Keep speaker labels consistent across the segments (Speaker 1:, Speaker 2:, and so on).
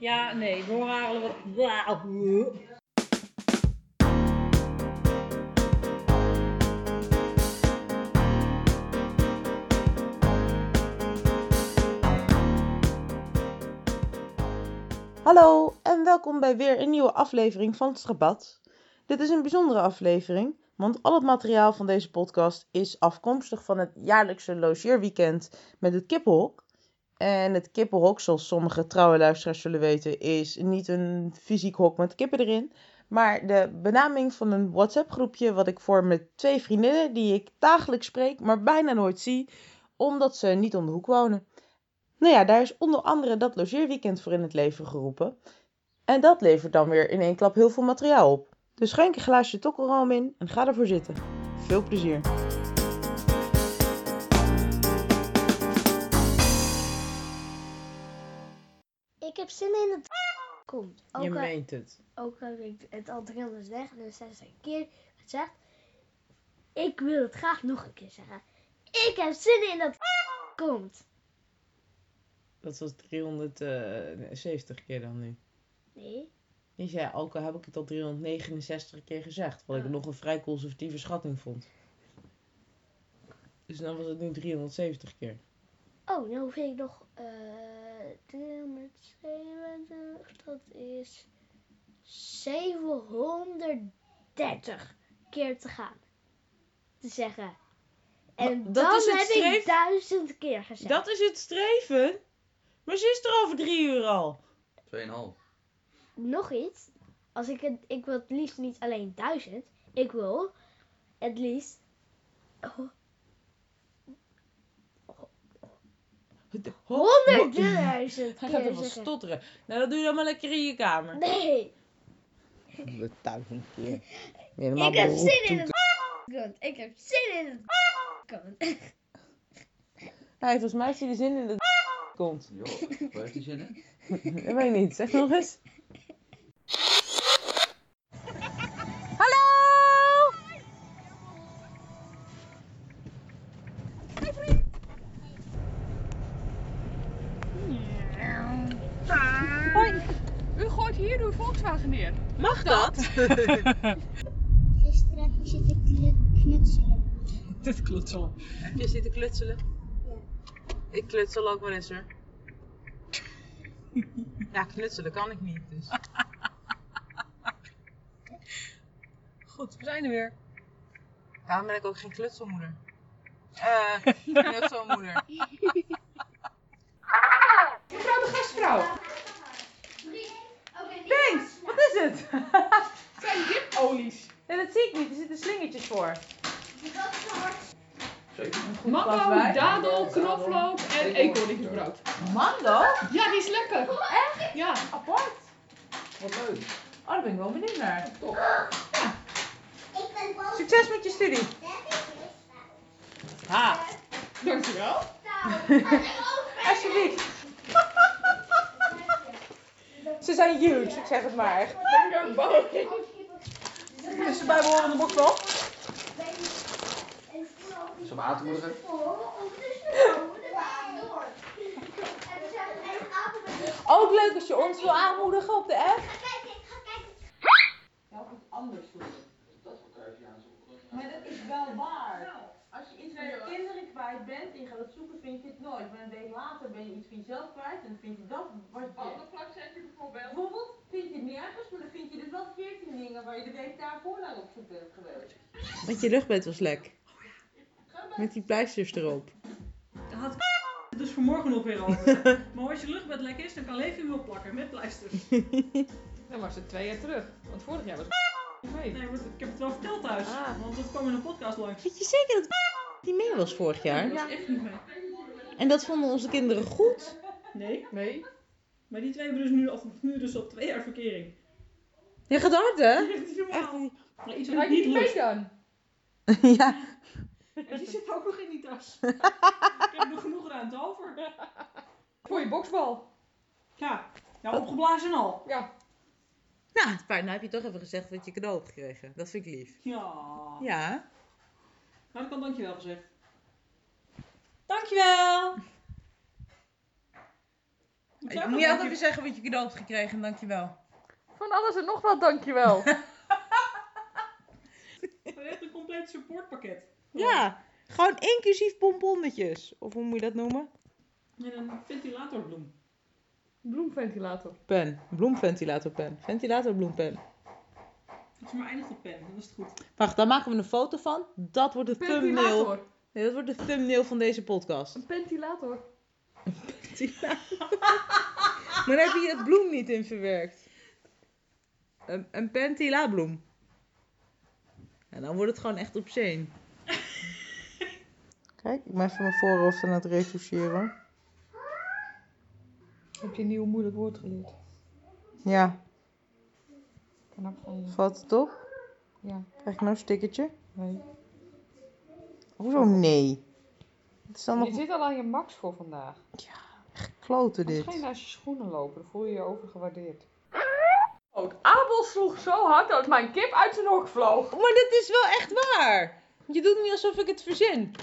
Speaker 1: Ja, nee, we horen haar al wat. Wauw.
Speaker 2: Hallo en welkom bij weer een nieuwe aflevering van het Strabat. Dit is een bijzondere aflevering, want al het materiaal van deze podcast is afkomstig van het jaarlijkse logeerweekend met het kippenhok. En het kippenhok, zoals sommige trouwe luisteraars zullen weten, is niet een fysiek hok met kippen erin, maar de benaming van een WhatsApp-groepje wat ik vorm met twee vriendinnen die ik dagelijks spreek, maar bijna nooit zie, omdat ze niet om de hoek wonen. Nou ja, daar is onder andere dat logeerweekend voor in het leven geroepen. En dat levert dan weer in één klap heel veel materiaal op. Dus schenk een glaasje tokkelroom in en ga ervoor zitten. Veel plezier.
Speaker 3: Ik heb zin in het komt. Ook, al-
Speaker 2: het.
Speaker 3: ook al ik het al 300 weg en dan zegt ze een keer het zegt. Ik wil het graag nog een keer zeggen. Ik heb zin in dat komt.
Speaker 2: Dat was 370 keer dan nu.
Speaker 3: Nee.
Speaker 2: Je zei, ook al heb ik het al 369 keer gezegd. Wat ik
Speaker 3: Ah.
Speaker 2: nog een vrij conservatieve schatting vond. Dus dan was het nu 370 keer.
Speaker 3: Oh, nou vind ik nog eh 370. Dat is 730 keer te gaan. Te zeggen. En
Speaker 2: Maar dat
Speaker 3: dan
Speaker 2: is het
Speaker 3: heb
Speaker 2: streef-
Speaker 3: ik duizend keer gezegd.
Speaker 2: Dat is het streven? Maar ze is er over drie uur al.
Speaker 4: 2,5.
Speaker 3: nog iets. Als ik, het, ik wil het liefst niet alleen 1000. Ik wil het liefst. ho- 100.000
Speaker 2: Hij gaat
Speaker 3: keer
Speaker 2: even
Speaker 3: zeggen.
Speaker 2: stotteren. Nou, dat doe je dan maar lekker in je kamer.
Speaker 3: Nee,
Speaker 2: Duizend keer.
Speaker 3: ik heb zin in het. Komt. Ik heb zin in het. Komt.
Speaker 2: Hij volgens mij heeft hij de zin in de komt.
Speaker 4: Joh, waar heeft die zin in?
Speaker 2: Dat weet ik niet. Zeg nog eens.
Speaker 5: U gooit hier uw Volkswagen neer.
Speaker 2: Mag dat?
Speaker 3: Gisteren heb ik zitten knutselen.
Speaker 2: Dit klutselen. Heb je zitten klutselen? Ik klutsel ook wel eens hoor. Ja, knutselen kan ik niet. Dus.
Speaker 5: Goed, we zijn er weer.
Speaker 2: Daarom ben ik ook geen klutselmoeder. Eh, knutselmoeder. Mevrouw de gastvrouw. Thanks, wat is het? Het zijn lipolies. Nee, dat zie ik niet, er zitten slingertjes voor.
Speaker 5: Mango, dadel, knoflook en eekhoornbrood.
Speaker 2: Mando?
Speaker 5: Ja, die is lekker. Echt? Ja.
Speaker 2: Apart.
Speaker 4: Wat leuk.
Speaker 2: Oh, daar ben ik wel benieuwd naar.
Speaker 3: Ik ben boos.
Speaker 2: Succes met je studie. Ha,
Speaker 5: Dankjewel.
Speaker 2: alsjeblieft. Ze zijn huge, ik zeg het maar. echt. Dus de bijbehorende box wel?
Speaker 4: Is om aan te moedigen?
Speaker 2: Ook leuk als je ons wil aanmoedigen op de app. Maar dat is wel waar. Nou, Als je iets van je kinderen kwijt bent en je gaat het zoeken, vind je het nooit. Maar een week later ben je iets van jezelf kwijt en dan vind je dat wat je... Bijvoorbeeld vind je het nergens, maar dan vind je dus wel veertien dingen waar je de week daarvoor naar op zoek bent geweest. Want je luchtbed was lek. Met die pleisters erop.
Speaker 6: Dat had k- dus vanmorgen nog weer over. maar als je luchtbed lek is, dan kan Levi hem opplakken met pleisters.
Speaker 5: Dan was het twee jaar terug. Want vorig jaar was het mee.
Speaker 6: Nee, want ik heb het wel verteld thuis.
Speaker 2: Ah.
Speaker 6: Want het kwam in een podcast langs.
Speaker 2: Weet je zeker dat die mee was vorig jaar?
Speaker 6: Dat is echt niet mee.
Speaker 2: En dat vonden onze kinderen goed?
Speaker 6: Nee,
Speaker 5: Nee.
Speaker 6: maar die twee hebben dus nu, of, nu dus op twee jaar verkering.
Speaker 2: Ja, gaat hard, hè?
Speaker 6: Echt niet normaal. Maar iets wat ik
Speaker 5: Rijd
Speaker 6: niet
Speaker 5: niet mee
Speaker 6: lust.
Speaker 5: dan?
Speaker 2: Ja.
Speaker 6: En die zit ook nog in die tas. ik heb nog genoeg ruimte over.
Speaker 5: Voor je boksbal.
Speaker 6: Ja, nou opgeblazen en al.
Speaker 5: Ja.
Speaker 2: Nou, het paard, nou heb je toch even gezegd wat je cadeau hebt gekregen. Dat vind ik lief.
Speaker 6: Ja.
Speaker 2: Ja.
Speaker 6: Maar dat kan dankjewel gezegd. Dankjewel!
Speaker 7: Moet jij ook
Speaker 2: Ik moet
Speaker 7: nog
Speaker 2: je altijd
Speaker 7: een
Speaker 2: weer zeggen wat je cadeau hebt gekregen, dankjewel.
Speaker 5: Van alles en nog wat, dankjewel.
Speaker 7: keer- Echt een compleet supportpakket.
Speaker 2: Ja, gewoon inclusief bonbonnetjes. Of hoe moet je dat noemen?
Speaker 7: En een ventilatorbloem.
Speaker 5: Bloemventilator.
Speaker 2: Pen, bloemventilatorpen, ventilatorbloempen.
Speaker 7: Het is maar eindigt op pen, dan is het goed.
Speaker 2: Wacht, daar maken we een foto van. Dat wordt de thumbnail.
Speaker 5: Ventilator.
Speaker 2: Nee, dat wordt de thumbnail van deze podcast.
Speaker 5: Een ventilator.
Speaker 2: maar daar heb je het bloem niet in verwerkt. Een, een pentilabloem. En dan wordt het gewoon echt obscene. Kijk, ik ben even mijn voorhoofd aan het retoucheren.
Speaker 5: Heb je een nieuw moeilijk woord geleerd?
Speaker 2: Ja,
Speaker 5: Knap van je.
Speaker 2: valt het op?
Speaker 5: Ja.
Speaker 2: Krijg ik nou een stickertje?
Speaker 5: Nee.
Speaker 2: Hoezo nee? Het is dan
Speaker 5: Je
Speaker 2: nog
Speaker 5: zit al aan je max voor vandaag.
Speaker 2: kloten
Speaker 5: Dit.
Speaker 2: dit.
Speaker 5: Ga je naast je schoenen lopen, dan voel je je overgewaardeerd. Oh, de abel sloeg zo hard dat mijn kip uit zijn hok vloog.
Speaker 2: Maar dit is wel echt waar. Je doet niet alsof ik het verzin.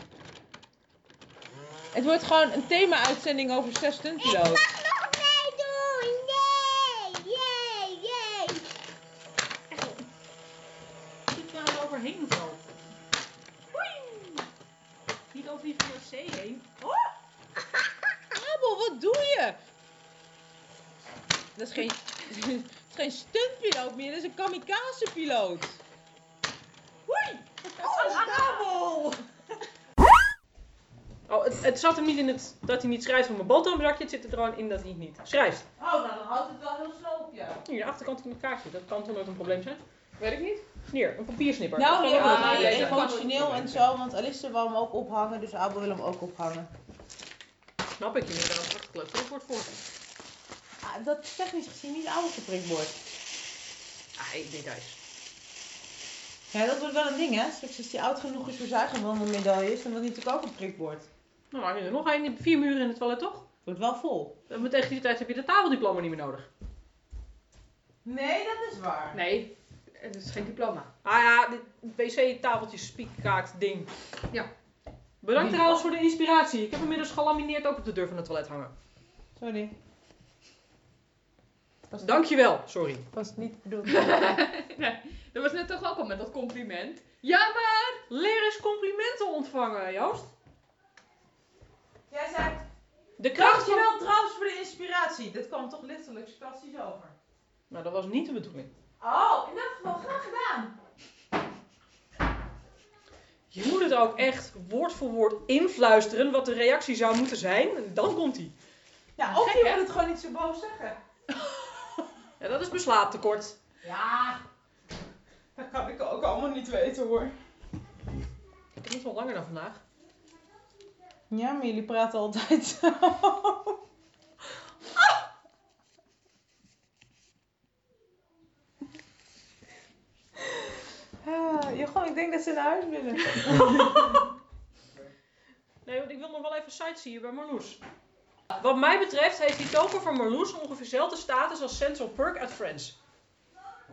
Speaker 2: Het wordt gewoon een thema-uitzending over zes stuntpiloten.
Speaker 8: Nog meedoen! Yay! Yay! Yay!
Speaker 7: Zit daar wel overheen of al? Niet over die VOC heen. Oh!
Speaker 2: Abel, wat doe je? Dat is geen, dat is geen stuntpiloot meer, dat is een kamikazepiloot. Hoi! Oh, Abel!
Speaker 6: Oh, het, het zat hem niet in het, dat hij niet schrijft van mijn boterhamzakje. Het zit er gewoon in dat hij het niet schrijft.
Speaker 2: Oh, nou dan houdt het wel heel snel op je.
Speaker 6: Hier, de achterkant van mijn kaartje. Dat kan toch nooit een probleem zijn?
Speaker 5: Weet ik niet.
Speaker 6: Hier, een papiersnipper.
Speaker 2: Nou,
Speaker 6: Dat
Speaker 2: nee,
Speaker 6: kan ook
Speaker 2: maar
Speaker 6: nooit een
Speaker 2: hij
Speaker 6: probleem
Speaker 2: is
Speaker 6: zijn.
Speaker 2: emotioneel en zo, want Alice wil hem ook ophangen, dus Abel wil hem ook ophangen.
Speaker 6: Snap ik inderdaad. Achterkleed wordt voor.
Speaker 2: Ah, dat is technisch gezien niet Abel's springboard.
Speaker 6: Ah, ik denk thuis.
Speaker 2: Ja, dat wordt wel een ding, hè? Straks is hij oud genoeg is voor zuigerwandelmedailles, dan wil hij natuurlijk ook een prikbord.
Speaker 6: Nou, dan heb je er nog één. Vier muren in het toilet, toch?
Speaker 2: Wordt wel vol.
Speaker 6: Dan moet- Tegen die tijd heb je de tafeldiploma niet meer nodig.
Speaker 2: Nee, dat is waar.
Speaker 6: Nee, het is geen diploma. Ah ja, dit wc-tafeltje spiekkaakt ding.
Speaker 5: Ja.
Speaker 6: Bedankt trouwens voor de inspiratie. Ik heb hem inmiddels gelamineerd ook op de deur van het toilet hangen.
Speaker 2: Sorry.
Speaker 6: Dankjewel. Sorry.
Speaker 2: Was niet bedoeld.
Speaker 5: Dat was net toch ook al met dat compliment. Ja, maar...
Speaker 6: Leer eens complimenten ontvangen, Joost.
Speaker 2: Jij zei
Speaker 6: De kracht van...
Speaker 2: wel trouwens voor de inspiratie. Dit kwam toch lichtelijk sarcastisch over.
Speaker 6: Nou, dat was niet de bedoeling.
Speaker 2: Oh, in dat geval graag gedaan.
Speaker 6: Je moet het ook echt woord voor woord influisteren wat de reactie zou moeten zijn. En dan komt die.
Speaker 2: Ja, of
Speaker 6: Gek,
Speaker 2: je
Speaker 6: hè?
Speaker 2: moet het gewoon niet zo boos zeggen.
Speaker 6: Ja, dat is beslaaptekort.
Speaker 2: Ja. Ah. Dat kan ik ook allemaal niet weten hoor.
Speaker 6: Ik heb niet wel langer dan vandaag.
Speaker 2: Ja, maar jullie praten altijd zo. Ah. Ah, Jochem, ik denk dat ze naar huis willen.
Speaker 6: Nee, want ik wil nog wel even sightseeën bij Marloes. Wat mij betreft heeft die token van Marloes ongeveer dezelfde status als Central Perk uit Friends.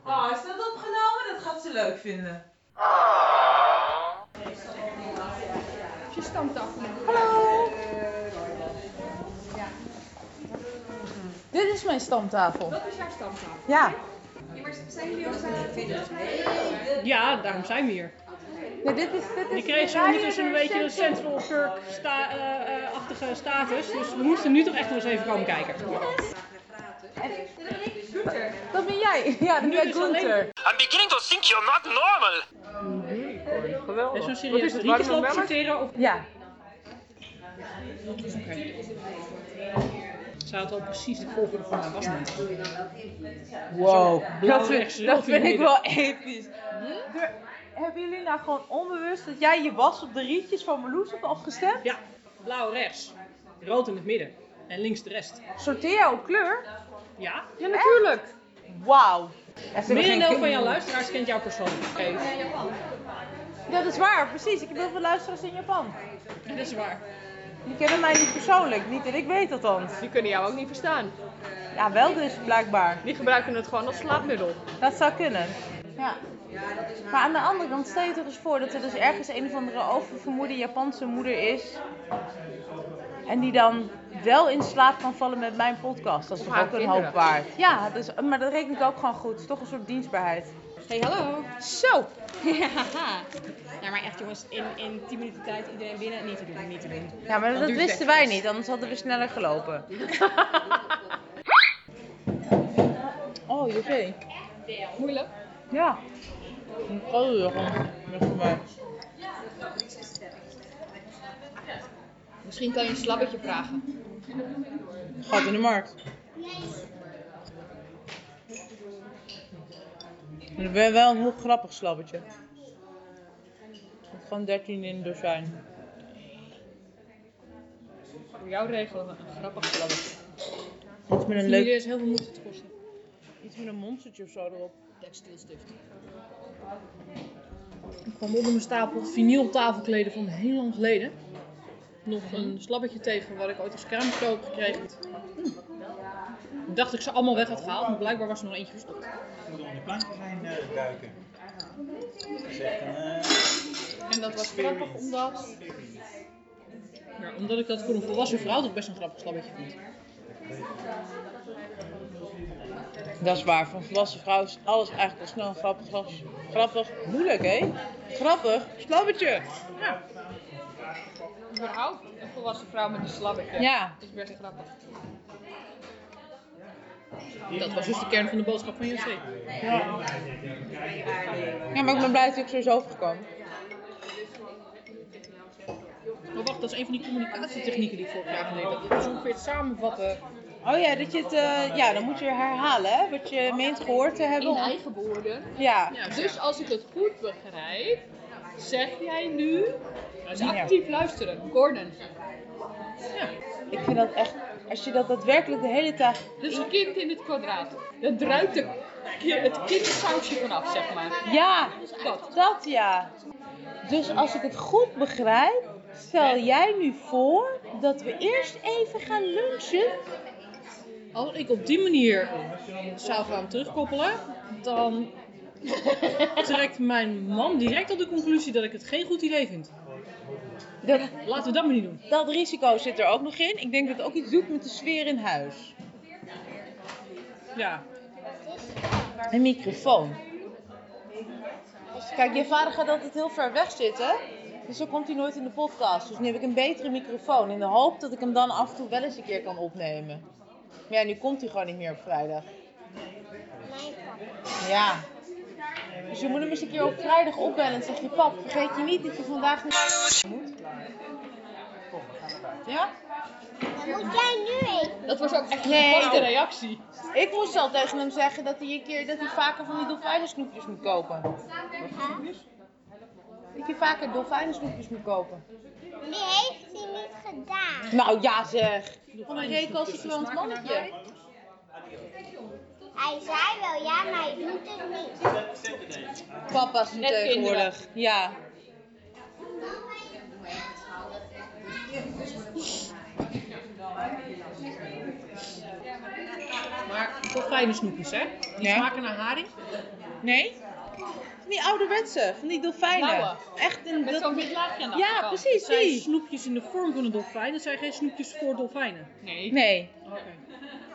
Speaker 2: Oh, is dat opgenomen? Dat gaat ze leuk vinden.
Speaker 5: Je stamt af.
Speaker 2: Hallo! Dit is mijn stamtafel.
Speaker 5: Dat is jouw stamtafel.
Speaker 2: Ja.
Speaker 5: Ja, maar zijn jullie ook... Nee.
Speaker 6: Ja, daarom zijn we hier.
Speaker 2: ja dit is, dit
Speaker 6: Die kreeg zo ondertussen een beetje een Central Perk-achtige eh, status. Dus we moesten nu toch echt nog eens even komen kijken.
Speaker 2: Dat ben jij. Ja, dat ben jij
Speaker 6: is dus alleen-
Speaker 2: Gunther.
Speaker 9: I'm beginning to think you're not normal.
Speaker 6: En zo serieus de rietjes lopen sorteren of...
Speaker 2: Ja.
Speaker 6: Ze had al precies de volgorde van haar wasmand.
Speaker 2: Wow.
Speaker 6: Dat
Speaker 2: Dat,
Speaker 6: vind ik-
Speaker 2: dat vind ik wel episch. Door- Hebben jullie nou gewoon onbewust dat jij je was op de rietjes van Meloes hebt afgestemd?
Speaker 6: Ja, blauw rechts. Rood in het midden. En links de rest.
Speaker 2: Sorteer jij op kleur?
Speaker 6: Ja?
Speaker 2: Ja, natuurlijk. Wauw.
Speaker 6: Merendeel van jouw luisteraars kent jouw persoon. Oké,
Speaker 2: Dat is waar, precies. Ik heb heel veel luisteraars in Japan.
Speaker 5: Dat is waar.
Speaker 2: Die kennen mij niet persoonlijk. Niet dat ik weet althans.
Speaker 5: Die kunnen jou ook niet verstaan.
Speaker 2: Ja, wel dus, blijkbaar.
Speaker 5: Die gebruiken het gewoon als slaapmiddel.
Speaker 2: Dat zou kunnen. Ja. Maar aan de andere kant, stel je toch eens voor dat er dus ergens een of andere oververmoede Japanse moeder is.
Speaker 10: En die dan wel in slaap kan vallen met mijn podcast. Dat is
Speaker 5: Of
Speaker 10: toch
Speaker 5: haar
Speaker 10: ook een
Speaker 5: kinderen.
Speaker 10: hoop waard. Ja, dus, maar dat reken ik ook gewoon goed. Het is toch een soort dienstbaarheid.
Speaker 6: Hey, hallo.
Speaker 10: Zo!
Speaker 6: Ja. Nou, maar echt jongens, in, in 10 minuten tijd iedereen binnen. Niet te doen, niet te doen.
Speaker 10: Ja, maar dat,
Speaker 6: duurt
Speaker 10: wisten wij niet, anders hadden we sneller gelopen. oh, oké.
Speaker 6: Moeilijk.
Speaker 10: Ja. Oh, ja.
Speaker 6: Misschien kan je een slabbetje vragen.
Speaker 10: Gaat in de markt. Ik ben wel een heel grappig slabbetje. Gewoon 13 in een dozijn.
Speaker 6: Voor jou regelen een grappig slabbetje.
Speaker 10: Iets met een
Speaker 6: Leuk.
Speaker 10: leuk...
Speaker 6: is heel veel moeite te kosten.
Speaker 10: Iets met een monstertje of zo erop.
Speaker 6: Textielstift. Ik kwam onder mijn stapel vinyltafelkleden van heel lang geleden.
Speaker 10: Mhm.
Speaker 6: Nog een slabbetje tegen wat ik ooit als kraamcadeau heb gekregen. Ik dacht dat ik ze allemaal weg had gehaald, maar blijkbaar was er nog eentje gestopt.
Speaker 11: moet onder de planken zijn eh, duiken. Dat is echt een, eh,
Speaker 6: En dat was grappig omdat. Ja, omdat ik dat voor een volwassen vrouw toch best een grappig slabbetje vond.
Speaker 10: Dat is waar, van volwassen vrouw is alles eigenlijk al snel grappig. gras- Grappig, moeilijk hè? Grappig, slabbetje.
Speaker 5: Überhaupt, een volwassen vrouw met een slabbetje.
Speaker 10: Ja,
Speaker 5: Dat is best grappig.
Speaker 6: Dat was dus de kern van de boodschap van JC.
Speaker 10: ja maar ik ben blij dat ik zo is overgekomen.
Speaker 6: Maar wacht, dat is een van die communicatietechnieken die ik vorig jaar geleerd heb. Dat is ongeveer het samenvatten
Speaker 10: Oh ja, dat je het, eh, ja, dan moet je herhalen hè, wat je meent gehoord te hebben.
Speaker 5: In eigen woorden.
Speaker 10: Ja,
Speaker 6: Ja,
Speaker 5: Dus als ik het goed begrijp, zeg jij nu. Dus
Speaker 10: Ja.
Speaker 5: actief luisteren, Gordon.
Speaker 10: ik vind dat echt, als je dat daadwerkelijk de hele dag...
Speaker 5: Dus kind in het kwadraat. Dat druipt de ki- het kindersausje vanaf, zeg maar.
Speaker 10: Ja,
Speaker 5: Dat.
Speaker 10: dat ja. Dus als ik het goed begrijp, stel jij nu voor dat we eerst even gaan lunchen.
Speaker 6: Als Oh, ik op die manier zou gaan terugkoppelen, dan trekt mijn man direct op de conclusie dat ik het geen goed idee vind.
Speaker 10: Dat,
Speaker 6: Laten we dat maar niet doen.
Speaker 10: dat risico zit er ook nog in. Ik denk dat het ook iets doet met de sfeer in huis.
Speaker 6: Ja.
Speaker 10: Een microfoon. Kijk, je vader gaat altijd heel ver weg zitten. Dus dan komt hij nooit in de podcast. Dus nu heb ik een betere microfoon. In de hoop dat ik hem dan af en toe wel eens een keer kan opnemen. Maar ja, nu komt hij gewoon niet meer op vrijdag. Ja. Dus je moet hem eens een keer op vrijdag opbellen en zeg je... Pap, vergeet je niet dat je vandaag naar moet. Ja?
Speaker 3: moet jij nu eten?
Speaker 5: Dat was ook echt een
Speaker 10: Nee.
Speaker 5: grote reactie.
Speaker 10: Ik moest al tegen hem zeggen dat hij, een keer, dat hij vaker van die dolfijnensnoepjes moet kopen. Dat je vaker dolfijnensnoepjes moet kopen.
Speaker 3: Die heeft hij niet gedaan.
Speaker 10: Nou ja zeg. Van een recalcitrant mannetje.
Speaker 3: Hij zei wel ja, maar hij doet het niet.
Speaker 10: Papa's van
Speaker 5: Net
Speaker 10: tegenwoordig. Ja.
Speaker 6: Maar toch fijne snoepjes, hè? Die
Speaker 10: Ja.
Speaker 6: smaken naar haring.
Speaker 10: Nee? Van die ouderwetse, van die dolfijnen.
Speaker 5: Blauwe.
Speaker 10: Echt een...
Speaker 5: Met
Speaker 10: dat-
Speaker 5: zo'n wit laagje aan de
Speaker 10: Ja,
Speaker 5: achterkant.
Speaker 10: precies,
Speaker 6: Het zijn
Speaker 10: die.
Speaker 6: snoepjes in de vorm van een dolfijn. Het zijn geen snoepjes voor dolfijnen.
Speaker 5: Nee.
Speaker 10: Nee.
Speaker 6: Oké.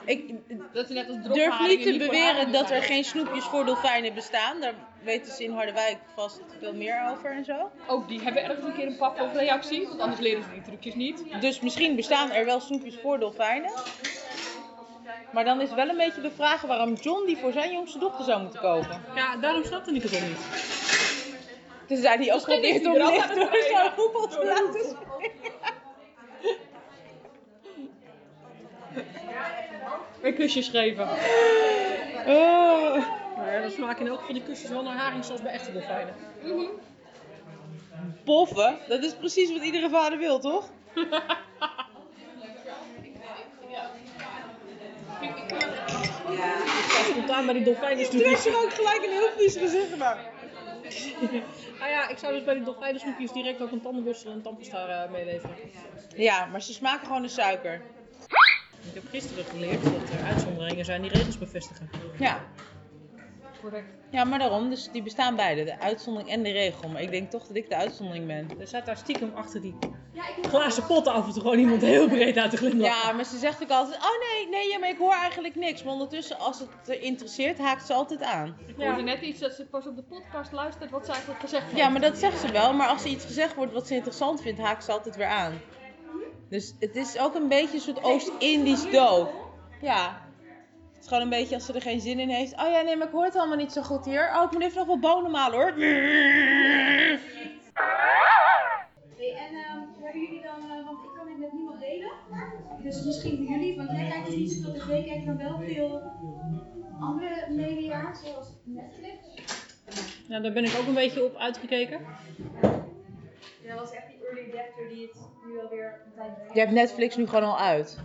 Speaker 10: Ik
Speaker 5: Dat is net als
Speaker 10: durf
Speaker 5: dropharingen
Speaker 10: niet te
Speaker 5: voor
Speaker 10: beweren
Speaker 5: haringen
Speaker 10: dat er
Speaker 5: zijn.
Speaker 10: geen snoepjes voor dolfijnen bestaan. Daar weten ze in Harderwijk vast veel meer over en zo.
Speaker 5: Ook die hebben ergens een keer een pap of reactie, want anders leren ze die trucjes niet.
Speaker 10: Dus misschien bestaan er wel snoepjes voor dolfijnen. Maar dan is wel een beetje de vraag waarom John die voor zijn jongste dochter zou moeten kopen.
Speaker 6: Ja, daarom snapte ik het al niet.
Speaker 10: Dus daar die ook probeert
Speaker 5: die
Speaker 10: om
Speaker 5: er al
Speaker 10: licht
Speaker 5: aan
Speaker 10: door
Speaker 5: het
Speaker 10: zo'n
Speaker 5: trainen.
Speaker 10: hoepel te laten springen.
Speaker 5: Een kusje schreven.
Speaker 10: Oh.
Speaker 6: Maar Nou ja, dat smaakt in elk geval die kussens wel naar haring zoals bij echte dolfijnen.
Speaker 10: Poffen, dat is precies wat iedere vader wil, toch?
Speaker 6: Spontaan bij die dolfijnen
Speaker 10: Die trekt er ook gelijk een heel vies gezicht naar.
Speaker 6: Ah ja, ik zou dus bij die dolfijnen snoepjes direct ook een tandenborstel en een tandpasta eh, meeleveren.
Speaker 10: Ja, maar ze smaken gewoon de suiker.
Speaker 6: Ik heb gisteren geleerd dat er uitzonderingen zijn die regels bevestigen.
Speaker 10: Ja.
Speaker 5: correct.
Speaker 10: Ja, maar daarom, dus die bestaan beide, de uitzondering en de regel. Maar ik denk toch dat ik de uitzondering ben.
Speaker 12: Er zat daar stiekem achter die glazen pot af en toe gewoon iemand heel breed uit de glimlach.
Speaker 10: Ja, maar ze zegt ook altijd, oh nee, nee, ja, maar ik hoor eigenlijk niks. Maar ondertussen, als het eh, interesseert, haakt ze altijd aan.
Speaker 5: Ik hoorde net iets dat ze pas op de podcast luistert wat ze eigenlijk gezegd heeft.
Speaker 10: Ja, maar dat zegt ze wel. Maar als er iets gezegd wordt wat ze interessant vindt, haakt ze altijd weer aan. Dus het is ook een beetje een soort Oost-Indisch doof. Ja. Het is gewoon een beetje als ze er geen zin in heeft. Oh ja, nee, maar ik hoor het allemaal niet zo goed hier. Oh, ik moet even nog wat bonen halen hoor.
Speaker 8: en ehm, hebben jullie dan, eh, want ik kan dit met niemand delen. Dus misschien voor jullie, want jij kijkt dus niet zoveel tv, kijkt dan wel veel andere media, zoals Netflix.
Speaker 6: Ja, Nou, daar ben ik ook een beetje op uitgekeken.
Speaker 8: En dat was echt die early adapter die het nu alweer een tijdje
Speaker 10: Je hebt Netflix nu gewoon al uit.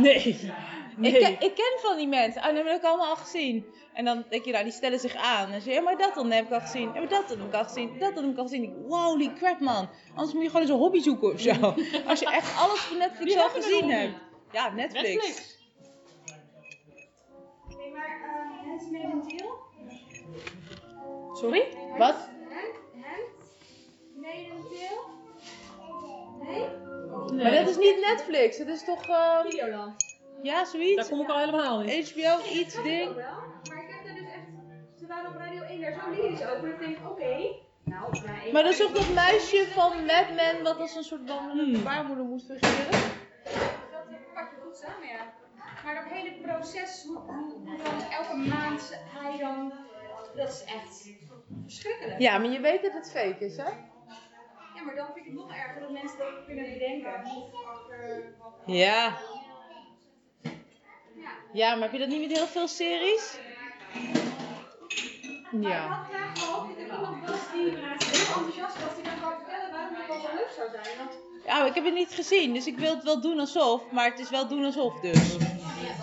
Speaker 12: nee.
Speaker 10: Ik, ken- ik ken van die mensen. Oh, dat heb ik allemaal al gezien. En dan denk je, nou, die stellen zich aan. En ze, ja, maar dat dan heb ik al gezien. Ja, maar dat dan heb ik al gezien. Dat dan heb ik al gezien. Ik, wow, holy crap, man. Anders moet je gewoon eens een hobby zoeken of zo. Als je echt alles van Netflix
Speaker 6: Die
Speaker 10: al
Speaker 6: hebben
Speaker 10: gezien
Speaker 6: een
Speaker 10: hebt. Ja, Netflix.
Speaker 8: Nee, maar eh Hands Made in Deal?
Speaker 12: Sorry?
Speaker 6: Wat?
Speaker 8: Hands Made in Deal? Nee?
Speaker 10: Maar dat is niet Netflix. Dat is toch... eh, Ja, zoiets.
Speaker 6: Daar kom ik al helemaal niet.
Speaker 10: HBO iets
Speaker 8: Ik
Speaker 10: ding.
Speaker 8: wel, maar ik heb daar dus echt... Ze waren op Radio 1 daar zo lyrisch over, dat ik denk, oké. Nou, nee.
Speaker 10: Maar dat is ook dat muisje van Mad Men wat als een soort wandelende baarmoeder moet
Speaker 8: Dat
Speaker 10: fungeren.
Speaker 8: eh, pak je goed samen, ja. Maar dat hele proces, hoe, hoe, hoe dan elke maand hij dan... Dat is echt verschrikkelijk.
Speaker 10: Ja, maar je weet dat het fake is, hè?
Speaker 8: Ja, maar dan vind ik het nog erger dat mensen dat kunnen bedenken.
Speaker 10: Ja. Ja, maar heb je dat niet met heel veel series?
Speaker 8: Ik
Speaker 10: Ja.
Speaker 8: had graag gehoopt dat er iemand was die heel enthousiast was, die dan kan vertellen waarom dat wel zo leuk zou zijn. Want
Speaker 10: Ja, maar ik heb het niet gezien, dus ik wil het wel doen alsof, maar het is wel doen alsof dus.
Speaker 8: ja, dat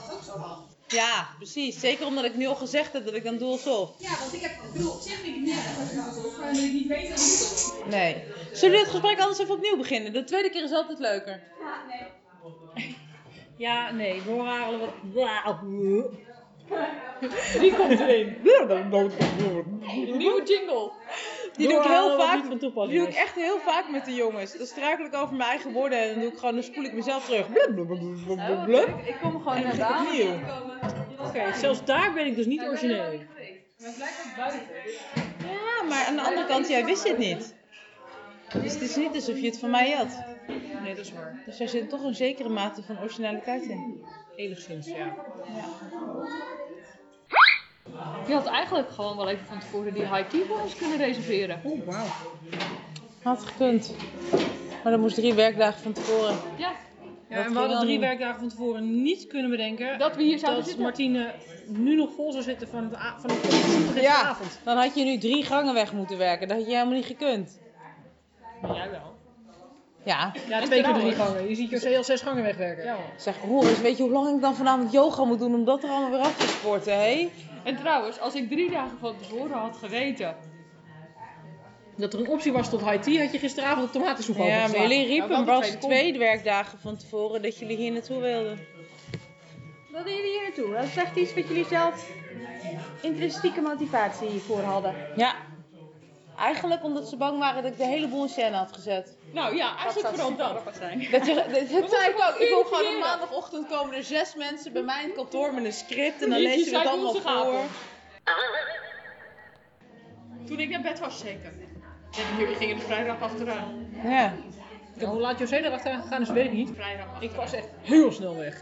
Speaker 8: is ook zo wel.
Speaker 10: Ja, precies. Zeker omdat ik nu al gezegd heb dat ik dan doe alsof.
Speaker 8: Ja, want ik heb, ik bedoel, op zich vind ik het niet echt dat ik dat ik niet weet dat ik het doe.
Speaker 10: Nee. Zullen we het gesprek anders even opnieuw beginnen? De tweede keer is altijd leuker.
Speaker 8: Ja, nee.
Speaker 1: Ja, nee, we horen eigenlijk wat.
Speaker 6: Die komt erin.
Speaker 5: Een nieuwe jingle.
Speaker 10: Die doe ik heel
Speaker 12: wat
Speaker 10: vaak.
Speaker 12: niet van
Speaker 10: Die
Speaker 12: toepassing
Speaker 10: doe ik
Speaker 12: is.
Speaker 10: echt heel vaak met de jongens. Dan struikel ik over mijn eigen woorden en dan doe ik gewoon, dan spoel ik mezelf terug.
Speaker 5: Oh,
Speaker 10: Blablabla.
Speaker 5: ik, ik kom gewoon naar
Speaker 10: En dan begin ik
Speaker 5: Daan.
Speaker 10: opnieuw.
Speaker 12: Oké, zelfs daar ben ik dus niet origineel.
Speaker 5: Maar blijkbaar buiten.
Speaker 10: Ja, maar aan de andere kant, jij wist het niet. Dus het is niet alsof je het van mij had.
Speaker 6: Nee, dat is waar.
Speaker 10: Dus daar zit toch een zekere mate van originaliteit in.
Speaker 6: Enigszins, ja.
Speaker 5: Je had eigenlijk gewoon wel even van tevoren die high voor ons kunnen reserveren.
Speaker 6: Oh, wauw.
Speaker 10: Had gekund. Maar dat moest drie werkdagen van tevoren.
Speaker 5: Ja,
Speaker 6: Ja, en
Speaker 10: ging
Speaker 6: we hadden
Speaker 10: wel
Speaker 6: drie
Speaker 10: niet.
Speaker 6: werkdagen van tevoren niet kunnen bedenken
Speaker 5: dat we hier zouden
Speaker 6: dat
Speaker 5: zitten.
Speaker 6: Martine nu nog vol zou zitten van, het a- van de
Speaker 10: Ja.
Speaker 6: avond.
Speaker 10: Dan had je nu drie gangen weg moeten werken. Dat had je helemaal niet gekund.
Speaker 6: Maar jij wel.
Speaker 10: Ja,
Speaker 6: Ja, twee keer drie gangen. Je ziet José al zes gangen wegwerken. Ja,
Speaker 10: zeg, hoor eens, weet je hoe lang ik dan vanavond yoga moet doen om dat er allemaal weer af te sporten, hé?
Speaker 5: En trouwens, als ik drie dagen van tevoren had geweten.
Speaker 6: Dat er een optie was tot high tea, had je gisteravond op tomatensoep
Speaker 10: Ja, maar
Speaker 6: overgeslagen.
Speaker 10: jullie
Speaker 6: Ja,
Speaker 10: riepen
Speaker 6: wel de
Speaker 10: pas
Speaker 6: tweede kom.
Speaker 10: twee werkdagen van tevoren dat jullie hier naartoe wilden.
Speaker 8: Wat deden jullie hier naartoe? Dat is echt iets wat jullie zelf intrinsieke motivatie hiervoor hadden.
Speaker 10: Ja. Eigenlijk omdat ze bang waren dat ik de hele boel in scène had gezet.
Speaker 5: Nou ja, eigenlijk vooral dat.
Speaker 10: Dat, je, dat, dat zei ik ook. Ik wil gewoon op
Speaker 5: verifiëren.
Speaker 10: maandagochtend komen er zes mensen bij mij in het kantoor met een script. En dan
Speaker 5: Liedjes
Speaker 10: lezen we het
Speaker 5: uit
Speaker 10: allemaal
Speaker 5: onze
Speaker 10: voor.
Speaker 5: gaten. Toen ik naar bed was, zeker. En jullie gingen de vrijdag achteraan.
Speaker 10: Ja.
Speaker 6: Ja, hoe laat José erachteraan gegaan is, weet ik niet.
Speaker 5: Vrijdag achteraan.
Speaker 6: Ik was echt heel snel weg.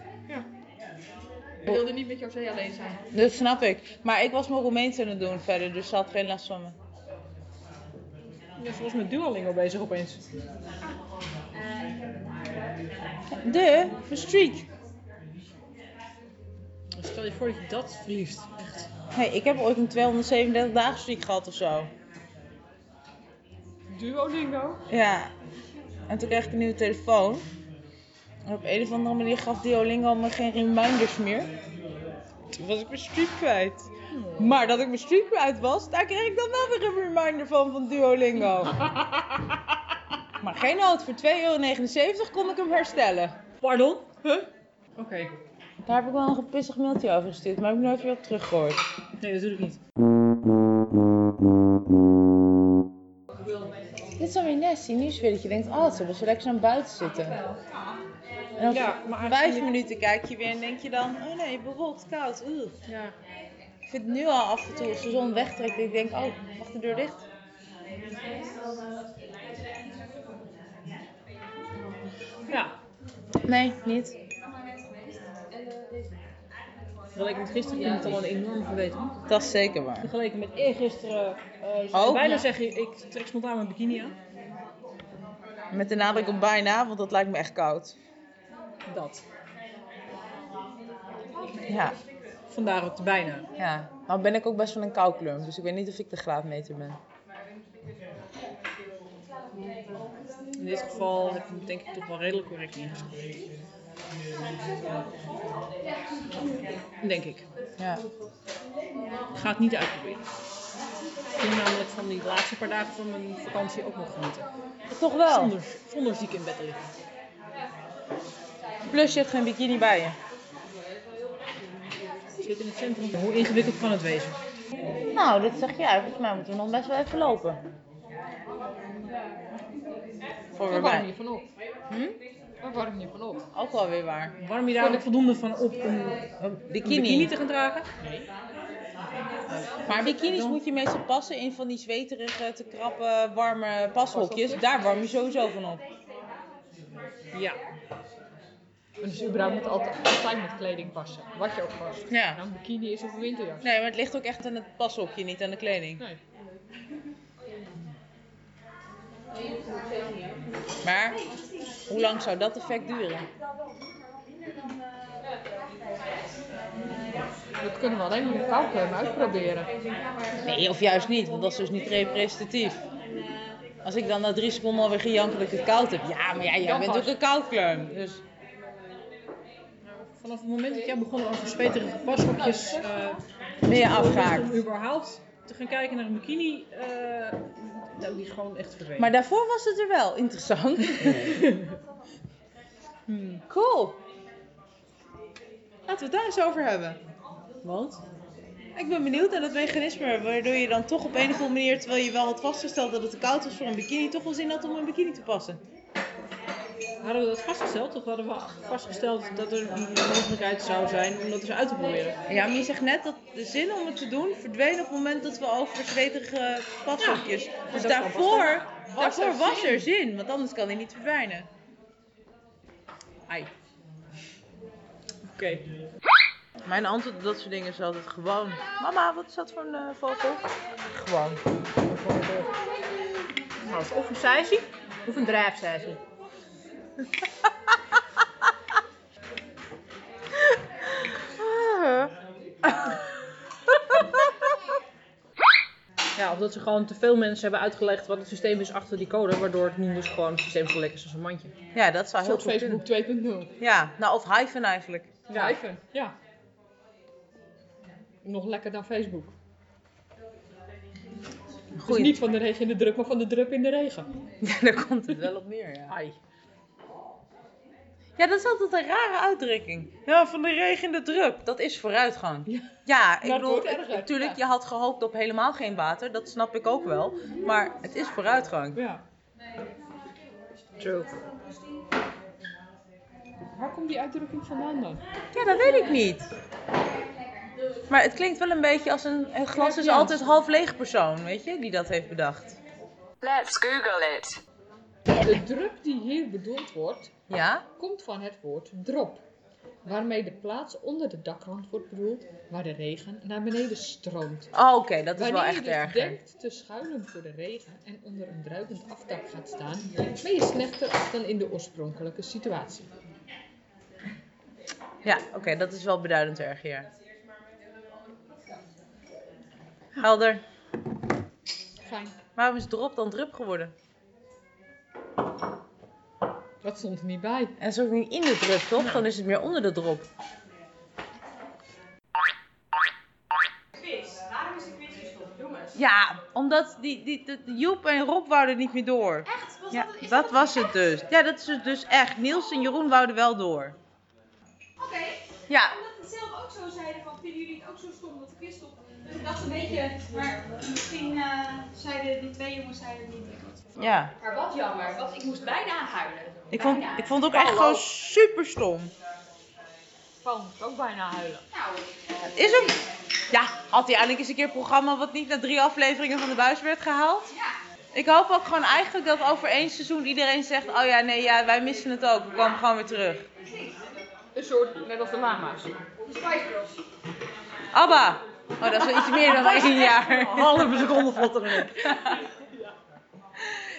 Speaker 5: Ik wilde niet met José alleen zijn.
Speaker 10: Dat snap ik. Maar ik was mijn Roemeens aan het doen verder, dus ze had geen last van me.
Speaker 6: Ja, ze was met Duolingo bezig opeens.
Speaker 10: De streak.
Speaker 6: Stel je voor dat je dat verliest. Echt.
Speaker 10: Hey, ik heb ooit een 237 dagen streak gehad of zo.
Speaker 5: Duolingo.
Speaker 10: Ja. En toen kreeg ik een nieuwe telefoon. En op een of andere manier gaf Duolingo me geen reminders meer. Toen was ik mijn streak kwijt. Maar dat ik mijn streak kwijt was, daar kreeg ik dan wel weer een reminder van van Duolingo. maar geen nood, voor 2,79 euro kon ik hem herstellen.
Speaker 12: Pardon?
Speaker 6: Oké.
Speaker 10: Daar heb ik wel een gepissig mailtje over gestuurd, maar heb ik nooit weer op teruggehoord.
Speaker 6: Nee, natuurlijk niet.
Speaker 10: Dit is dan weer nasty nieuws weer dat je denkt, oh, het zullen ze lekker aan buiten zitten. En dan
Speaker 6: Ja, maar
Speaker 10: vijf
Speaker 6: eigenlijk-
Speaker 10: minuten kijk je weer en denk je dan, oh nee, bewolkt, koud, oeh.
Speaker 6: Ja.
Speaker 10: Ik vind het nu al af en toe, als de zon wegtrekt, dat ik denk, oh, mag de deur dicht?
Speaker 6: Ja.
Speaker 10: Nee, niet.
Speaker 6: Vergeleken met gisteren vind ik het al een enorm geweten.
Speaker 10: Dat is zeker waar.
Speaker 6: Vergeleken met eergisteren. eh zou
Speaker 10: Ook,
Speaker 6: ik bijna
Speaker 10: ja.
Speaker 6: zeggen, ik trek spontaan mijn bikini aan.
Speaker 10: Met de nadruk op bijna, want dat lijkt me echt koud.
Speaker 6: Dat.
Speaker 10: Ja.
Speaker 6: Vandaar ook de bijna.
Speaker 10: Ja, nou ben ik ook best wel een kouklum, dus ik weet niet of ik de graadmeter ben.
Speaker 6: In dit geval heb ik hem denk ik toch wel redelijk correct ingeschreven. Denk ik.
Speaker 10: Ja.
Speaker 6: Ik ga het niet uitproberen. Ik ging namelijk van die laatste paar dagen van mijn vakantie ook nog genieten.
Speaker 10: Toch wel?
Speaker 6: Zonder, zonder ziek in bed te liggen.
Speaker 10: Plus je hebt geen bikini bij je.
Speaker 6: Ik zit in het centrum. Hoe ingewikkeld kan het wezen?
Speaker 10: Nou, dat zeg jij. Volgens mij moeten we nog best wel even lopen. Voor
Speaker 5: Daar
Speaker 10: weer
Speaker 5: warm
Speaker 10: bij.
Speaker 5: je van op.
Speaker 10: Hm?
Speaker 5: Daar warm je van op.
Speaker 10: Ook wel weer waar.
Speaker 6: Warm je daar ook voldoende van op om een
Speaker 10: bikini.
Speaker 6: bikini te gaan dragen?
Speaker 10: Maar bikinis moet je meestal passen in van die zweterige, te krappe, warme pashokjes. Daar warm je sowieso van op.
Speaker 6: Ja.
Speaker 5: Dus überhaupt moet altijd, altijd met kleding passen. Wat je ook past.
Speaker 10: Ja.
Speaker 5: Nou, een bikini is of een winterjas.
Speaker 10: Nee, maar het ligt ook echt aan het pashokje, niet aan de kleding.
Speaker 5: Nee.
Speaker 10: Maar, hoe lang zou dat effect duren?
Speaker 5: Dat kunnen we alleen maar met koukleum uitproberen.
Speaker 10: Nee, of juist niet, want dat is dus niet representatief. Als ik dan na drie seconden alweer gejanken dat ik het koud heb. Ja, maar ja, jij
Speaker 6: Dan
Speaker 10: bent
Speaker 6: pas.
Speaker 10: ook een koudkleur. Dus
Speaker 6: Vanaf het moment dat jij begon over zweterige pashokjes... eh,
Speaker 10: ben je
Speaker 6: was het wel
Speaker 10: afgehaakt.
Speaker 6: Om überhaupt te gaan kijken naar een bikini... eh nou, die is gewoon echt verdwenen.
Speaker 10: Maar daarvoor was het er wel interessant. Hmm, Cool. Laten we het daar eens over hebben.
Speaker 6: Want?
Speaker 10: Ik ben benieuwd naar dat mechanisme waardoor je dan toch op een of andere manier, terwijl je wel had vastgesteld dat het te koud was voor een bikini, toch wel zin had om een bikini te passen.
Speaker 6: Hadden we dat vastgesteld of hadden we vastgesteld dat er een mogelijkheid zou zijn om dat eens uit te proberen?
Speaker 10: Ja, maar je zegt net dat de zin om het te doen verdween op het moment dat we over zweterige pashokjes. dus
Speaker 6: dat kan pas
Speaker 10: daarvoor,
Speaker 6: dan. Was
Speaker 10: daarvoor
Speaker 6: er
Speaker 10: was
Speaker 6: zin.
Speaker 10: er zin, want anders kan hij niet verdwijnen.
Speaker 6: Ai. Oké.
Speaker 10: Mijn antwoord op dat soort dingen is altijd gewoon. Mama, wat is dat voor een vogel? Gewoon.
Speaker 6: Nou, is of een seisie of een drijfseisie. Ja, of dat ze gewoon te veel mensen hebben uitgelegd wat het systeem is achter die code, waardoor het nu dus gewoon het systeem zo lekker is als een mandje.
Speaker 10: Ja, dat zou heel
Speaker 5: Zoals
Speaker 10: goed kunnen.
Speaker 5: Facebook 2.0.
Speaker 10: Ja, nou of hyphen eigenlijk.
Speaker 5: Ja. Even. Ja. Nog lekker dan Facebook. Dus
Speaker 10: Goeie.
Speaker 5: niet van de regen in de druk, maar van de druk in de regen.
Speaker 10: Ja, daar komt het wel op neer, ja.
Speaker 5: Ai.
Speaker 10: Ja, dat is altijd een rare uitdrukking. Ja, van de regen in de drup. Dat is vooruitgang. Ja,
Speaker 5: Nou,
Speaker 10: ik
Speaker 5: Dat
Speaker 10: bedoel,
Speaker 5: wordt erger,
Speaker 10: natuurlijk,
Speaker 5: ja.
Speaker 10: je had gehoopt op helemaal geen water. Dat snap ik ook wel. Maar het is vooruitgang.
Speaker 5: Ja.
Speaker 6: True.
Speaker 5: Waar komt die uitdrukking vandaan dan?
Speaker 10: Ja, dat weet ik niet. Maar het klinkt wel een beetje als een, een glas is
Speaker 5: Ja.
Speaker 10: altijd half leeg persoon, weet je, die dat heeft bedacht.
Speaker 13: Let's Google it.
Speaker 5: De drup die hier bedoeld wordt,
Speaker 10: Ja?
Speaker 5: komt van het woord drop. Waarmee de plaats onder de dakrand wordt bedoeld waar de regen naar beneden stroomt.
Speaker 10: Oh, oké, dat is wel
Speaker 5: Wanneer
Speaker 10: echt
Speaker 5: je dus
Speaker 10: erger.
Speaker 5: denkt te schuilen voor de regen en onder een druipend afdak gaat staan, ben je slechter af dan in de oorspronkelijke situatie.
Speaker 10: Ja, oké, dat is wel beduidend erger, ja. Helder.
Speaker 5: Fijn.
Speaker 10: Waarom is drop dan drup geworden?
Speaker 5: Dat stond er niet bij.
Speaker 10: En zo niet in de drup, toch? Dan is het meer onder de drop.
Speaker 2: Quiz. Waarom is de quiz gestopt, jongens?
Speaker 10: Ja, omdat die, die, die- die Joep en Rob wouden niet meer door.
Speaker 2: Echt? Was
Speaker 10: Ja,
Speaker 2: dat, is
Speaker 10: dat was het dus. Ja, dat is het dus echt. Niels en Jeroen wouden wel door.
Speaker 2: Oké.
Speaker 10: Ja.
Speaker 8: Omdat het zelf ook zo zeiden van, vinden jullie het ook zo stom dat de quiz op? Dus ik dacht een beetje, maar misschien eh, zeiden die twee jongens zeiden niet. ik wat.
Speaker 10: Ja.
Speaker 8: Maar wat jammer, want ik moest bijna huilen.
Speaker 10: Ik vond, ik vond het ook echt gewoon super stom.
Speaker 6: Van, ook bijna huilen.
Speaker 10: Is ook. Ja, had hij eindelijk eens een keer een programma wat niet na drie afleveringen van de buis werd gehaald? Ik hoop ook gewoon eigenlijk dat over één seizoen iedereen zegt: Oh ja, nee, ja, wij missen het ook. We kwamen gewoon weer terug.
Speaker 6: Een soort, net als de lama's.
Speaker 8: De Spice Girls.
Speaker 10: Abba! Oh, dat is wel iets meer dan
Speaker 6: Dat is
Speaker 10: één
Speaker 6: echt
Speaker 10: jaar.
Speaker 6: een
Speaker 10: halve seconde vlotter dan ik.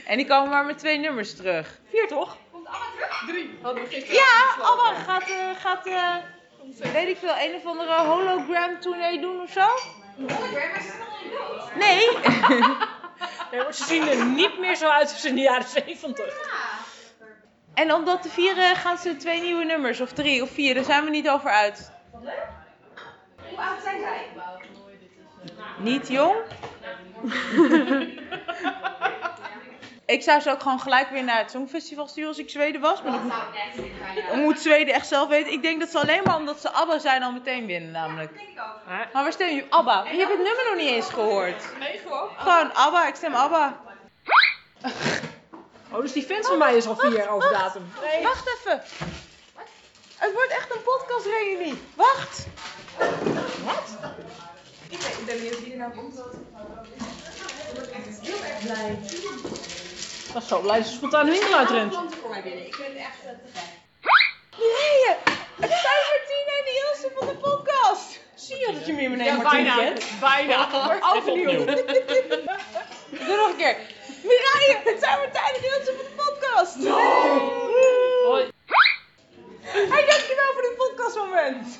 Speaker 10: En die komen maar met twee nummers terug. Vier toch?
Speaker 8: Komt allemaal terug?
Speaker 6: Drie. Hadden we gisteren
Speaker 10: Ja, Abba gaat, eh, gaat eh, weet ik veel, een of andere hologram tournee doen of zo?
Speaker 8: Hologram is helemaal niet dood.
Speaker 10: Nee.
Speaker 12: Nee, maar ze zien er niet meer zo uit als in de jaren 70.
Speaker 10: En om dat te vieren gaan ze twee nieuwe nummers, of drie of vier, daar zijn we niet over uit.
Speaker 8: Wat leuk. Hoe oud zijn zij?
Speaker 10: Niet jong? ik zou ze ook gewoon gelijk weer naar het Songfestival sturen als ik Zweden was. Maar dat moet,
Speaker 8: echt niet
Speaker 10: dat moet Zweden echt zelf weten. Ik denk dat ze alleen maar omdat ze ABBA zijn al meteen winnen namelijk. Maar waar stem je? ABBA. Je hebt het nummer nog niet eens gehoord.
Speaker 6: Nee, gewoon.
Speaker 10: Gewoon ABBA, ik stem ABBA.
Speaker 12: Oh, dus die fans van mij is al vier jaar over datum.
Speaker 10: Wacht even. Het wordt echt een podcastreunie. Wacht. Wat?
Speaker 8: Ik weet ben benieuwd wie er nou komt. Ik word echt heel erg blij.
Speaker 12: Dat is zo blij dat ze Oh, spontaan de winkel uitrent.
Speaker 8: klanten voor mij binnen. Ik ben echt eh, te gek.
Speaker 10: Nee, het zijn Martina en Ilse van de podcast. Zie je dat je meer beneden
Speaker 12: Ja,
Speaker 10: Martine
Speaker 12: bijna.
Speaker 10: kent?
Speaker 12: Bijna.
Speaker 10: Overnieuw. Doe nog een keer. Mireille, het zijn Martijn en Ilse van de podcast. Hoi. Hey, dankjewel voor dit podcastmoment.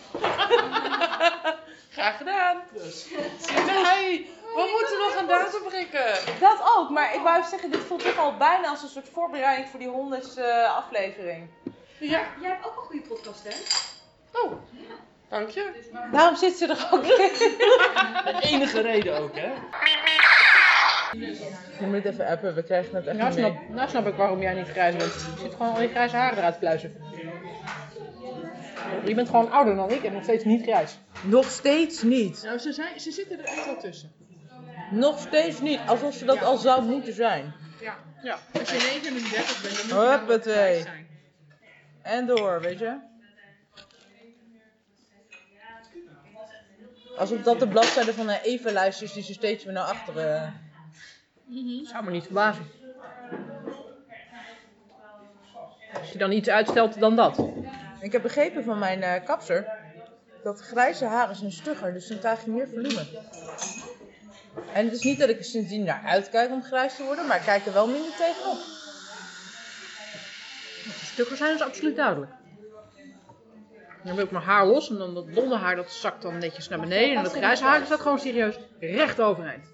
Speaker 10: Graag gedaan. Hey, we moeten nog een datum prikken. Dat ook, maar ik wou even zeggen, dit voelt toch al bijna als een soort voorbereiding voor die honderdste eh, aflevering.
Speaker 8: Ja. Jij hebt ook een goede podcast, hè?
Speaker 10: Oh,
Speaker 8: Dank je.
Speaker 10: daarom zit ze er ook in.
Speaker 14: De enige reden ook, hè?
Speaker 10: Je moet even appen, we krijgen het echt
Speaker 6: Nou snap, nou snap ik waarom jij niet grijs bent. Je zit gewoon al je grijze haren eruit te pluizen. Je bent gewoon ouder dan ik en nog steeds niet grijs.
Speaker 10: Nog steeds niet.
Speaker 6: Nou, ze, zijn, ze zitten er echt wel tussen.
Speaker 10: Nog steeds niet, alsof ze dat al zou moeten zijn.
Speaker 6: Ja. ja. Als je 39 bent, dan moet je dan wel grijs
Speaker 10: Huppatee.
Speaker 6: zijn.
Speaker 10: En door, weet je. Alsof dat de bladzijde van een evenlijst is die ze steeds weer naar achteren...
Speaker 6: Zou me niet verbazen. Als je dan iets uitstelt dan dat.
Speaker 10: Ik heb begrepen van mijn eh, kapster dat grijze haren zijn stugger, dus dan krijg je meer volume. En het is niet dat ik er sindsdien naar uitkijk om grijs te worden, maar ik kijk er wel minder tegenop.
Speaker 6: Stukken zijn dus absoluut duidelijk. Dan wil ik mijn haar los en dan dat blonde haar dat zakt dan netjes naar beneden. En dat grijze haar dat staat gewoon serieus recht overeind.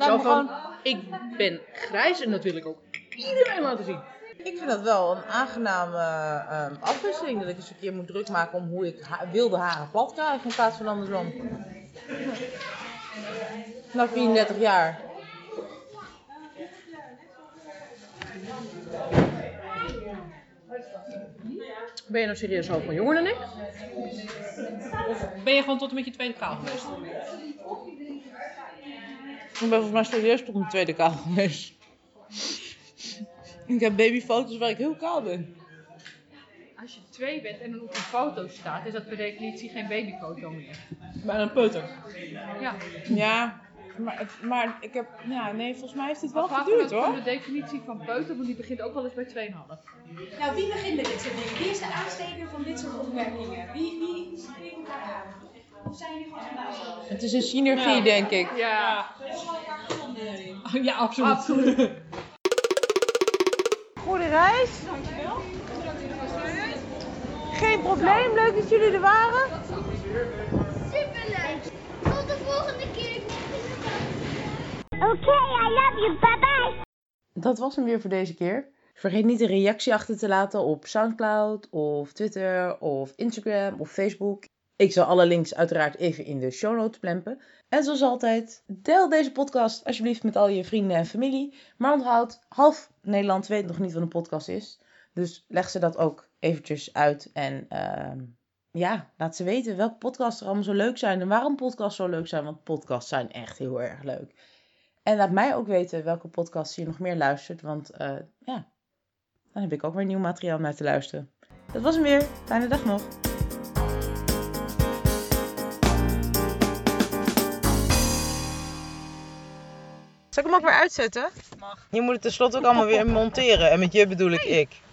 Speaker 6: Zo van, ik ben grijs en dat wil ik ook iedereen laten zien.
Speaker 10: Ik vind dat wel een aangename eh, ehm, afwisseling. Dat ik eens een keer moet druk maken om hoe ik ha- wilde haren plat krijg in plaats van andersom. Na 34 jaar.
Speaker 6: Ben je nou serieus zoveel jonger dan ik?
Speaker 12: Of ben je gewoon tot een beetje tweede kaal geweest?
Speaker 10: Ik ben volgens mij serieus tot mijn tweede kaal geweest. ik heb babyfoto's waar ik heel kaal ben.
Speaker 6: Als je twee bent en dan op een foto staat, is dat per definitie geen babyfoto meer.
Speaker 12: Maar een peuter.
Speaker 6: Ja.
Speaker 10: Ja, maar, het- maar ik heb. Ja, nee, volgens mij heeft het wel
Speaker 6: Vraag me
Speaker 10: geduurd
Speaker 6: dan van
Speaker 10: hoor.
Speaker 6: de definitie van peuter, want die begint ook wel eens bij 2,5.
Speaker 8: Nou, wie begint met dit soort dingen? Wie is de aansteker van dit soort opmerkingen? Wie, wie spreekt elkaar aan? Of zijn jullie gewoon allemaal
Speaker 10: Het is een synergie, denk ik.
Speaker 6: Ja.
Speaker 12: Ja, absoluut.
Speaker 10: Goede reis.
Speaker 8: Dankjewel.
Speaker 10: Geen probleem, leuk dat jullie er waren.
Speaker 8: Superleuk. Tot de volgende keer.
Speaker 10: Oké, I love you. Bye bye. Dat was hem weer voor deze keer. Vergeet niet een reactie achter te laten op SoundCloud of Twitter of Instagram of Facebook. Ik zal alle links uiteraard even in de show notes plempen. En zoals altijd, deel deze podcast alsjeblieft met al je vrienden en familie. Maar onthoud, half Nederland weet nog niet wat een podcast is. Dus leg ze dat ook eventjes uit en ehm,
Speaker 2: ja, laat ze weten welke podcasts er allemaal zo leuk zijn en waarom podcasts zo leuk zijn, want podcasts zijn echt heel erg leuk. En laat mij ook weten welke podcasts je nog meer luistert, want eh, ja, dan heb ik ook weer nieuw materiaal om naar te luisteren. Dat was hem weer. Fijne dag nog. Zal ik hem ook weer uitzetten? Mag. Je moet het tenslotte ook allemaal weer monteren. En met je bedoel ik ik.